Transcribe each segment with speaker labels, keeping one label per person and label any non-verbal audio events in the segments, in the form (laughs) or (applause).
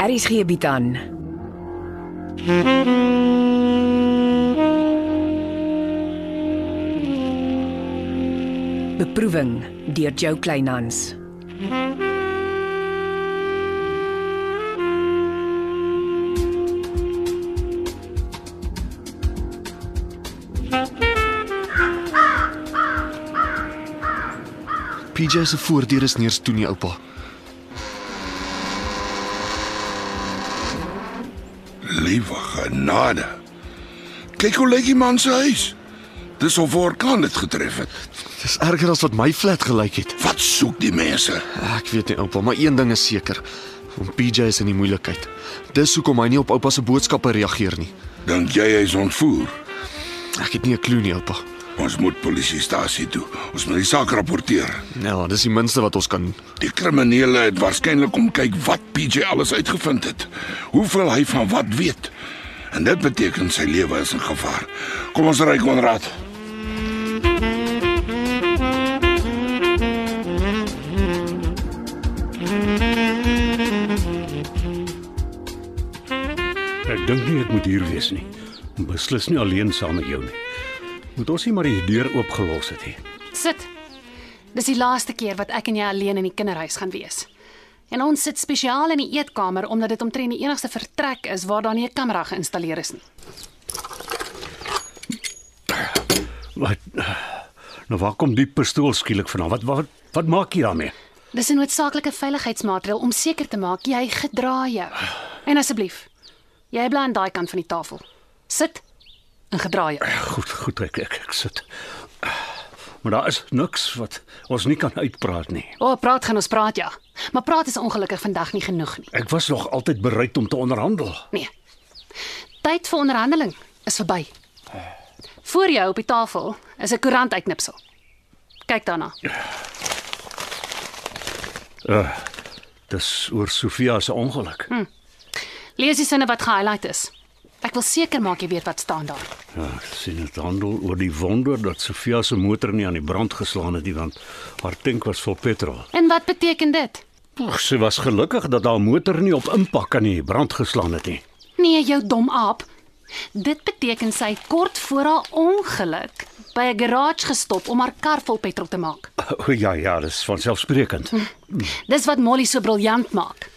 Speaker 1: Aries gee bied aan. Beproeving deur Jo Kleinhans.
Speaker 2: PJ se voordeur is neers toe nie, oupa.
Speaker 3: Liewe genade. Kyk hoe lyk die man se huis. Dis of 'n orkaan dit getref het.
Speaker 2: Dis erger as wat my flat gelyk het.
Speaker 3: Wat soek die mense?
Speaker 2: Ek weet nie, oupa, maar een ding is seker. Om PJ is in die moeilikheid. Dis hoekom hy nie op oupa se boodskappe reageer nie.
Speaker 3: Dink jy hy's ontvoer?
Speaker 2: Ek het nie 'n klou nie, oupa.
Speaker 3: Ons moet polisiestasie toe. Ons moet die saak rapporteer.
Speaker 2: Ja, dis die minste wat ons kan doen.
Speaker 3: Die kriminele het waarskynlik om kyk wat PJ alles uitgevind het. Hoeveel hy van wat weet. En dit beteken sy lewe is in gevaar. Kom ons ry Konrad.
Speaker 4: Ek dink nie ek moet hier wees nie. Beslis nie alleen saam met jou nie. Moet ons nie maar die deur oopgelos het nie.
Speaker 5: Sit. Dis die laaste keer wat ek en jy alleen in die kinderhuis gaan wees. En ons sit spesiaal in die eetkamer omdat dit omtrent die enigste vertrek is waar daar nie 'n kamera geïnstalleer is nie.
Speaker 4: Wat Nou waar kom die pistool skielik vandaan? Wat wat wat maak jy daarmee?
Speaker 5: Dis 'n noodsaaklike veiligheidsmaatreël om seker te maak jy gedra jou. En asseblief, jy bly aan daai kant van die tafel. Sit en gedra jou.
Speaker 4: Goed, goed ek ek, ek sit. Maar daar is niks wat ons nie kan uitpraat nie.
Speaker 5: O, oh, praat gaan ons praat ja. Maar praat is ongelukkig vandag nie genoeg nie.
Speaker 4: Ek was nog altyd bereid om te onderhandel.
Speaker 5: Nee. Tyd vir onderhandeling is verby. Voor jou op die tafel is 'n koerant uitknipsel. Kyk daarna.
Speaker 4: Dis oor Sofia se ongeluk. Hm.
Speaker 5: Lees die sinne wat gehighlight is. Ek wil seker maak jy weet wat staan daar.
Speaker 4: Ja, ek sien dit handel oor die wonder dat Sofia se motor nie aan die brand geslaan het nie want haar tank was vol petrol.
Speaker 5: En wat beteken dit?
Speaker 4: Ag, sy was gelukkig dat haar motor nie op impak aan die brand geslaan het nie.
Speaker 5: Nee, jou dom aap. Dit beteken sy het kort voor haar ongeluk by 'n garage gestop om haar kar vol petrol te maak.
Speaker 4: O ja, ja, dis vanselfsprekend.
Speaker 5: Dis wat Molly so briljant maak.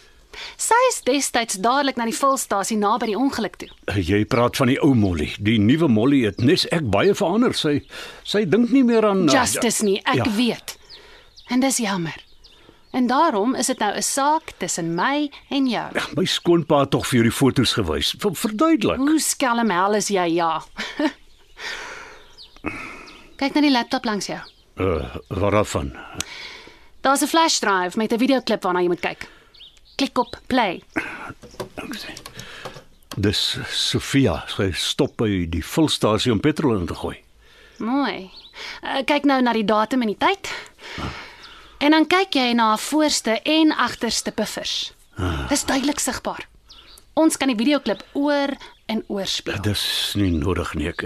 Speaker 5: Sy is destyds dadelik na die vulstasie naby die ongeluk toe.
Speaker 4: Jy praat van die ou Molly. Die nuwe Molly het nes ek baie verander. Sy sy dink nie meer aan uh,
Speaker 5: Justice nie, ek
Speaker 4: Nou, Ja.
Speaker 5: weet. En dis jammer. En daarom is dit nou 'n saak tussen my en jou.
Speaker 4: Ja, My skoonpa het tog vir jou die foto's gewys. Ver, verduidelik.
Speaker 5: Hoe skelm hel is jy ja? Kyk na die laptop langs jou.
Speaker 4: Uh, wat daarvan?
Speaker 5: Daar's 'n flash drive met 'n videoklip waarna jy moet kyk. Klik op play.
Speaker 4: Dis Sofia. Sy stop by die vulstasie om petrol in te gooi.
Speaker 5: Mooi. Uh, kyk nou na die datum en die tyd. En dan kyk jy na haar voorste en agterste buffers. Dis duidelik sigbaar. Ons kan die videoklip oor en oor
Speaker 4: Ja.
Speaker 5: speel.
Speaker 4: Dis nie nodig nie ek.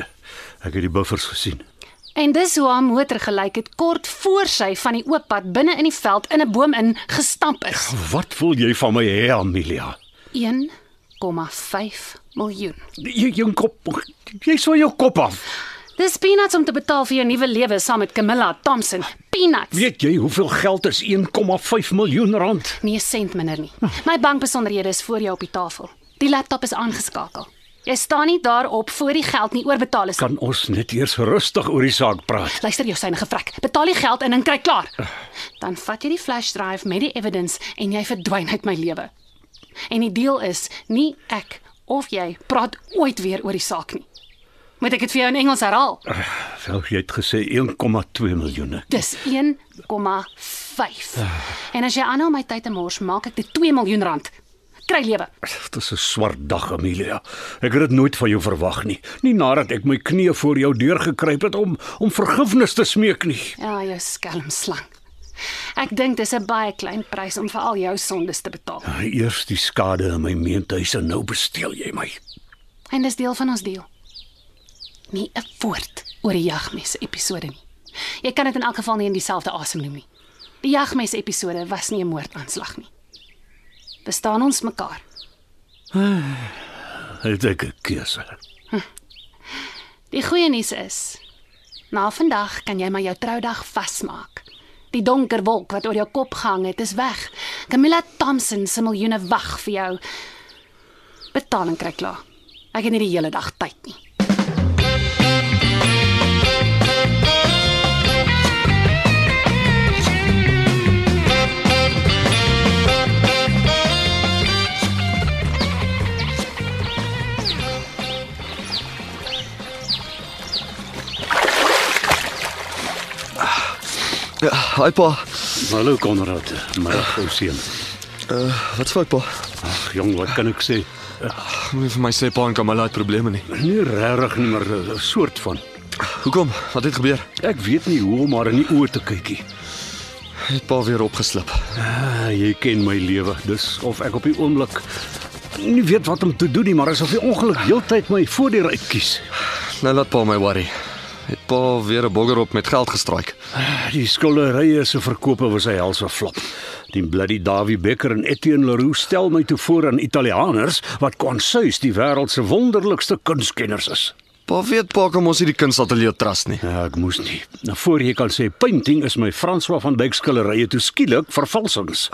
Speaker 4: Ek het die buffers gesien.
Speaker 5: En dis hoe haar motor gelyk het kort voor sy van die oop pad binne in die veld in 'n boom in gestamp is.
Speaker 4: Wat wil jy van my hê, Amelia?
Speaker 5: 1,5 miljoen.
Speaker 4: Jy jou kop jy sou jou kop af.
Speaker 5: Dis peanuts om te betaal vir jou nuwe lewe saam met Camilla Thompson. Peanuts.
Speaker 4: Weet jy hoeveel geld is 1,5 miljoen rand?
Speaker 5: Nee, 'n sent minder nie. My bankbesonderhede is voor jou op die tafel. Die laptop is aangeskakel. Jy staan nie daarop voor die geld nie oorbetaal is.
Speaker 4: Kan ons net eers rustig oor die saak praat?
Speaker 5: Luister jou synige vrek. Betaal die geld in en kry klaar. Dan vat jy die flash drive met die evidence en jy verdwyn uit my lewe. En die deal is nie ek of jy praat ooit weer oor die saak nie. Moet ek dit vir jou in Engels herhaal?
Speaker 4: Wel, jy het gesê 1,2 miljoen.
Speaker 5: Dis 1,5. En as jy aanhou om my tyd te mors, maak ek dit 2 miljoen rand. Kry lewe.
Speaker 4: Dit is 'n swart dag, Amelia. Ek het dit nooit van jou verwag nie. Nie nadat ek my knieë voor jou deur gekruip het om om vergifnis te smeek nie.
Speaker 5: Ja, jou skelm slang. Ek dink dis 'n baie klein prys om vir al jou sondes te betaal.
Speaker 4: Eers die skade in my meentuis en nou besteel jy my.
Speaker 5: En dis deel van ons deal. Nie 'n woord oor die jagmes episode nie. Jy kan dit in elk geval nie in dieselfde asem noem nie. Die jagmes episode was nie 'n moordaanslag nie. Bestaan ons mekaar?
Speaker 4: Het ek 'n keuse.
Speaker 5: Die goeie nuus is, na vandag kan jy maar jou troudag vasmaak. Die donker wolk wat oor jou kop gehang het, is weg. Camilla Thompson se miljoene wag vir jou. Betaling kry klaar. Ek het nie die hele dag tyd nie.
Speaker 2: Ja, Hi pa.
Speaker 4: Hallo Konrad, my ou seun.
Speaker 2: Uh, wat's fout pa?
Speaker 4: Ag jong, wat kan ek sê?
Speaker 2: Moenie vir my sê pa en Kamala het probleme nie.
Speaker 4: Nie regtig nie, maar 'n soort van.
Speaker 2: Hoekom? Wat het gebeur?
Speaker 4: Ek weet nie hoe om haar in die oë te kykie.
Speaker 2: Het pa weer opgeslip.
Speaker 4: Ah, jy ken my lewe, dis of ek op die oomblik nie weet wat om te doen nie, maar asof die ongeluk heeltyd my voordeur uitkies.
Speaker 2: Nou laat pa my worry. Het pa weer 'n bogger op met geld gestraik.
Speaker 4: Ah, Die skilderye se verkope was hy helse flop. Die bloody Davie Becker en Etienne Leroux stel my toe voor aan Italianers wat konsuis die wêreld se wonderlikste kunstkenners is.
Speaker 2: Pa weet pa kan ons nie die kunsateljee trust nie.
Speaker 4: Ja, ek moes nie. Nou voor jy kan sê painting is my François van Dyk skilderye toe skielik vervalsings.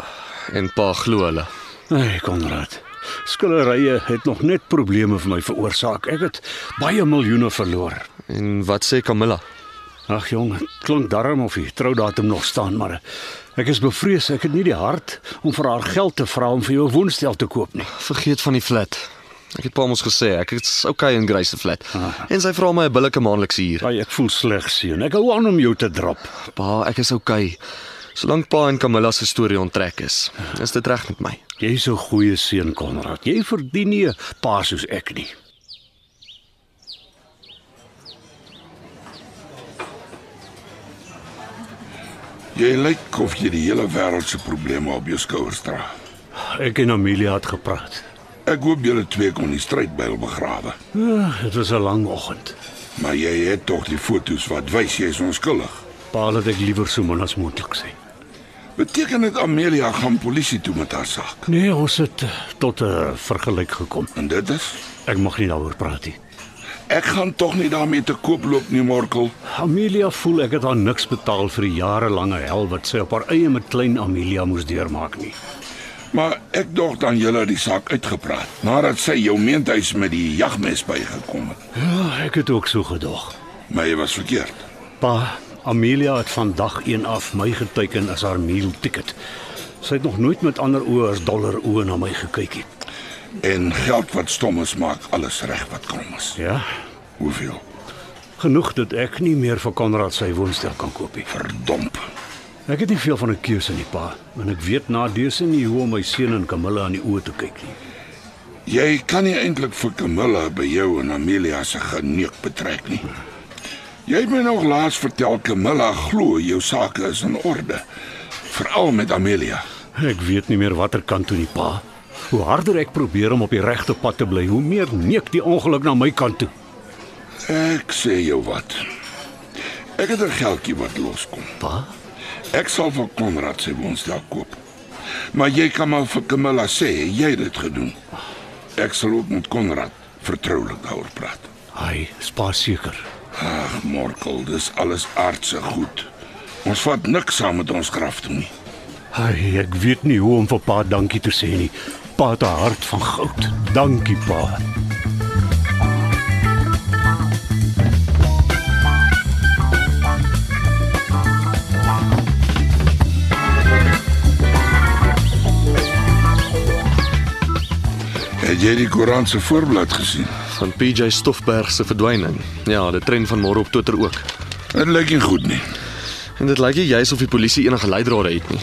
Speaker 2: En pa glo hulle.
Speaker 4: Hey Nee, Konrad. Skillerye het nog net probleme vir my veroorsaak. Ek het baie miljoene verloor.
Speaker 2: En wat sê Camilla?
Speaker 4: Ag jong, het klink darm of die troudatum nog staan, maar ek is bevrees ek het nie die hart om vir haar geld te vra om vir jou 'n woonstel te koop nie.
Speaker 2: Vergeet van die flat. Ek het pa mos gesê ek is okay in Grace se flat. En sy vra my 'n billike maandelikse huur.
Speaker 4: Ai, ek voel sleg seun. Ek hou aan om jou te drop.
Speaker 2: Pa, ek is okay. Solank pa en Camilla se storie onttrek is, is dit reg met my.
Speaker 4: Jy's 'n goeie seun Konrad. Jy verdien nie 'n pa soos ek nie.
Speaker 3: Jy lyk of jy die hele wêreld se probleme op jou skouers dra.
Speaker 4: Ek en Amelia het gepraat.
Speaker 3: Ek hoop julle twee kon die stryd byl begrawe.
Speaker 4: Ah, Dit was 'n lang oggend.
Speaker 3: Maar jy het tog die fotos wat wys jy is onskuldig.
Speaker 4: Pa laat ek liewer so min as moontlik sê.
Speaker 3: Beteken dit Amelia gaan polisie toe met haar saak?
Speaker 4: Nee, ons het eh, tot 'n vergelyk gekom.
Speaker 3: En dit is
Speaker 4: Ek mag nie daaroor praat nie.
Speaker 3: ek gaan tog nie daarmee te koop loop nie, Morkel.
Speaker 4: Amelia voel ek het haar niks betaal vir die jarelange hel wat sy op haar eie met klein Amelia moes deurmaak nie.
Speaker 3: Maar ek dog dan julle het die saak uitgepraat nadat sy jou meentuis met die jagmes bygekom het.
Speaker 4: Ja, ek het ook so gedog.
Speaker 3: Maar jy was verkeerd.
Speaker 4: Pa, Amelia het van dag 1 af my geteken as haar meal ticket. Sy het nog nooit met ander oë as dollar oë na my gekyk nie.
Speaker 3: En geld wat stom is maak alles reg wat krom is.
Speaker 4: Ja,
Speaker 3: Hoeveel?
Speaker 4: genoeg dat ek nie meer vir Konrad sy woonstel kan koop nie.
Speaker 3: Verdomp.
Speaker 4: Ek het nie veel van 'n keuse nie, pa, en ek weet na dese nie hoe om my seun en Camilla aan die oë te kyk nie.
Speaker 3: Jy kan nie eintlik vir Camilla by jou en Amelia se geneuk betrek nie. Jy het my nog laas vertel Camilla glo jou sake is in orde, veral met Amelia.
Speaker 4: Ek weet nie meer watter kant toe nie, pa. Hoe harder ek probeer om op die regte pad te bly, hoe meer neek die ongeluk na my kant toe.
Speaker 3: Ek sê jou wat. Ek het 'n geldjie wat loskom.
Speaker 4: Pa?
Speaker 3: Ek sal vir Konrad sy woonstel koop. Maar jy kan maar vir Camilla sê jy het dit gedoen. Ek sal ook met Konrad vertroulik daaroor praat.
Speaker 4: Hy spaar seker.
Speaker 3: Ag, Morkel, dis alles aardse goed. Ons vat niks saam met ons graf toe nie.
Speaker 4: Hy, ek weet nie hoe om vir pa dankie te sê nie. Pa het 'n hart van goud. Dankie, pa.
Speaker 3: Het jy die koerant se voorblad gesien?
Speaker 2: Van PJ Stoffberg se verdwyning. Ja, dit trend vanmôre op Twitter ook.
Speaker 3: Dit lyk nie goed nie.
Speaker 2: En dit lyk nie juis of die polisie enige leidrade het nie.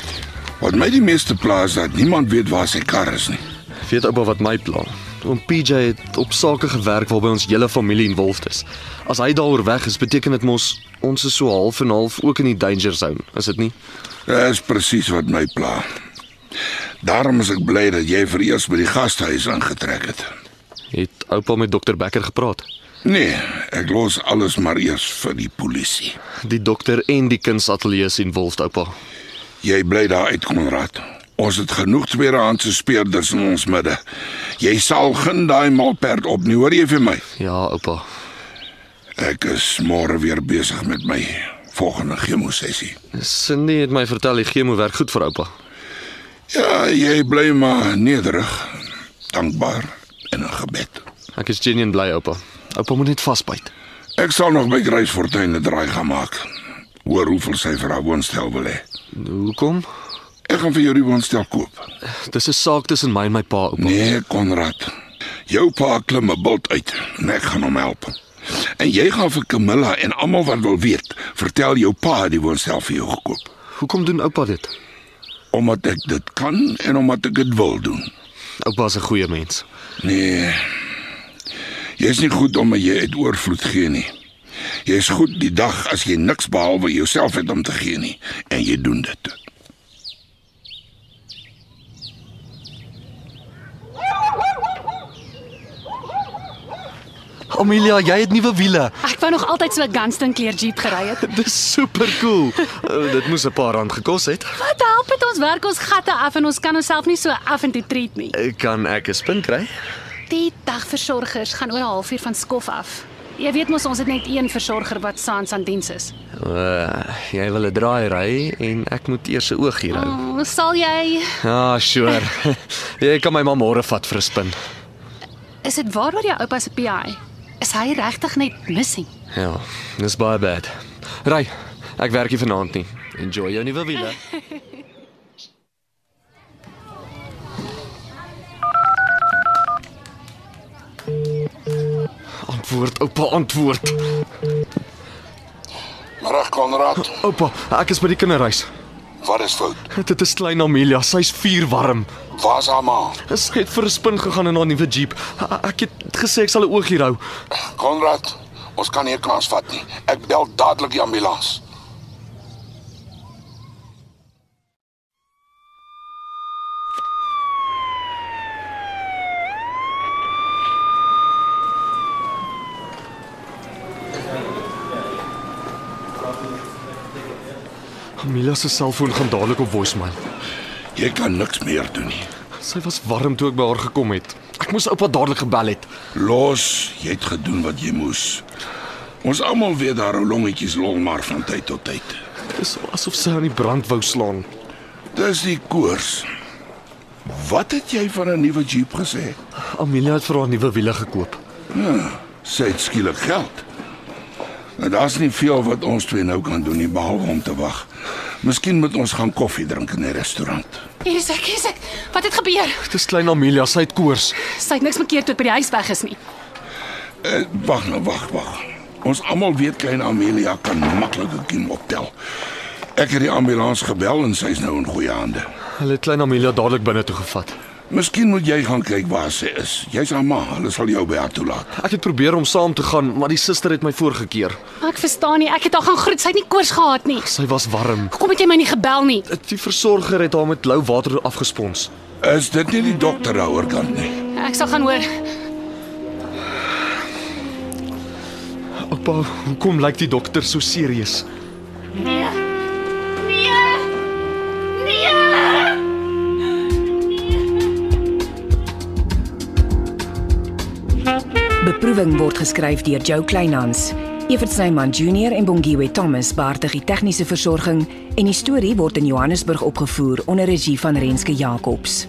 Speaker 3: Wat my die meeste pla is dat niemand weet waar sy kar is nie.
Speaker 2: Weet oupa wat my pla? Oom PJ het op sake gewerk waarby ons hele familie involved is. As hy daaroor weg is, beteken dit mos ons is so half en half ook in die danger zone, is dit nie?
Speaker 3: Dis presies wat my pla. Daarom is ek bly dat jy vir eers by die gastehuis aangetrek het.
Speaker 2: Het oupa met dokter Becker gepraat?
Speaker 3: Nee, ek los alles maar eers vir die polisie.
Speaker 2: Die dokter en die kunsateljee sien Wolf oupa.
Speaker 3: Jy bly daar uit Konrad. Ons het genoeg tweedehandse speerders in ons midde. Jy sal geen daai malperd op nie, hoor jy vir my?
Speaker 2: Ja, oupa.
Speaker 3: Ek is môre weer besig met my volgende chemosessie.
Speaker 2: Cindy het my vertel die chemo werk goed vir oupa.
Speaker 3: Ja, jy bly maar nederig, dankbaar en in gebed.
Speaker 2: Ek is genuen bly oupa. Oupa moet net vasbyt.
Speaker 3: Ek sal nog by Grace Fortuin 'n draai gaan maak. Hoor hoeveel sy vir haar woonstel wil hê.
Speaker 2: Hoekom?
Speaker 3: Ek gaan vir jou die woonstel koop.
Speaker 2: Dis 'n saak tussen my en my pa oupa.
Speaker 3: Nee, Konrad. Jou pa klim 'n bult uit en ek gaan hom help. En jy gaan vir Camilla en almal wat wil weet, vertel jou pa het die woonstel vir jou gekoop.
Speaker 2: Hoekom doen oupa dit?
Speaker 3: Omdat ek dit kan en omdat ek dit wil doen.
Speaker 2: Oupa is 'n goeie mens.
Speaker 3: Nee. Jy's nie goed om jy uit oorvloed gee nie. Jy's goed die dag as jy niks behalwe jouself het om te gee nie en jy doen dit.
Speaker 2: Amelia, jy het nuwe wiele.
Speaker 5: Ek wou nog altyd so 'n Gunston kleur Jeep gery het.
Speaker 2: Dis super cool. (laughs) Uh, dit moes 'n paar rand gekos het.
Speaker 5: Wat help dit ons werk ons gatte af en ons kan onsself nie so af en toe treat nie.
Speaker 2: Eh, Kan ek 'n spin kry?
Speaker 5: Die dagversorgers gaan oor 'n halfuur van skof af. Jy weet mos ons het net een versorger wat saans aan diens is.
Speaker 2: Uh, jy wil 'n draai ry en ek moet eers 'n oog hier hou.
Speaker 5: Oh, sal jy
Speaker 2: Ja, sure. (laughs) jy kan my ma môre vat vir 'n spin.
Speaker 5: Is dit waar oor jou oupa se PI? Is hy regtig net missing?
Speaker 2: Ja, dis baie bad. Ry. Ek werk nie vanaand nie. Enjoy jou nuwe wiele. (laughs) Antwoord, oupa, antwoord.
Speaker 3: Reg Konrad,
Speaker 2: Oupa, ek is by die kinderhuis.
Speaker 3: wat is fout?
Speaker 2: Dit is klein Amelia, sy's vuurwarm.
Speaker 3: Waar's haar ma?
Speaker 2: Sy het vir 'n spin gegaan in haar nuwe Jeep. Ek het gesê ek sal 'n oog hier hou.
Speaker 3: Konrad, ons kan nie 'n kans vat nie. Ek bel dadelik die ambulans.
Speaker 2: Amelia se selfoon gaan dadelik op voicemail.
Speaker 3: Jy kan niks meer doen nie.
Speaker 2: Sy was warm toe ek by haar gekom het. Ek moes oupa dadelik gebel het.
Speaker 3: Los, jy het gedoen wat jy moes. Ons almal weet daar hou longetjies lol maar van tyd tot tyd.
Speaker 2: Dit is asof sy aan die brand wou slaan.
Speaker 3: Dis die koers. Wat het jy van 'n nuwe Jeep gesê?
Speaker 2: Amelia het vir haar nuwe wiele gekoop.
Speaker 3: Hm, Sy het skielik geld. Nou daar's nie veel wat ons twee nou kan doen nie behalwe om te wag. Miskien moet ons gaan koffie drink in 'n restaurant.
Speaker 5: Hier is ek, hier is ek. Wat het gebeur?
Speaker 2: Dit is klein Amelia, sy het koors.
Speaker 5: Sy het niks bekeer toe ek by die huis weg is nie.
Speaker 3: Eh, Wag nou, wag, wag. Ons almal weet klein Amelia kan maklik 'n kiem optel. Ek het die ambulans gebel en sy's nou in goeie hande.
Speaker 2: Hulle het klein Amelia dadelik binne toe gevat.
Speaker 3: Miskien moet jy gaan kyk waar sy is. Jy's haar ma, hulle sal jou by haar toelaat.
Speaker 2: Ek het probeer om saam te gaan, maar die suster het my voorgekeer.
Speaker 5: Maar ek verstaan nie. Ek het haar gaan groet. Sy het nie koors gehad nie.
Speaker 2: Sy was warm.
Speaker 5: Hoekom het jy my nie gebel nie?
Speaker 2: Die versorger het haar met lou water afgespons.
Speaker 3: Is dit nie die dokter daaroor kant nie?
Speaker 5: Ek sal gaan hoor.
Speaker 2: Oupa, hoekom lyk die dokter so serieus?
Speaker 1: Beproeving word geskryf deur Jo Kleinhans. Evert Snyman Junior en Bongwe Thomas beheerdig die tegniese versorging en die storie word in Johannesburg opgevoer onder regie van Renske Jacobs.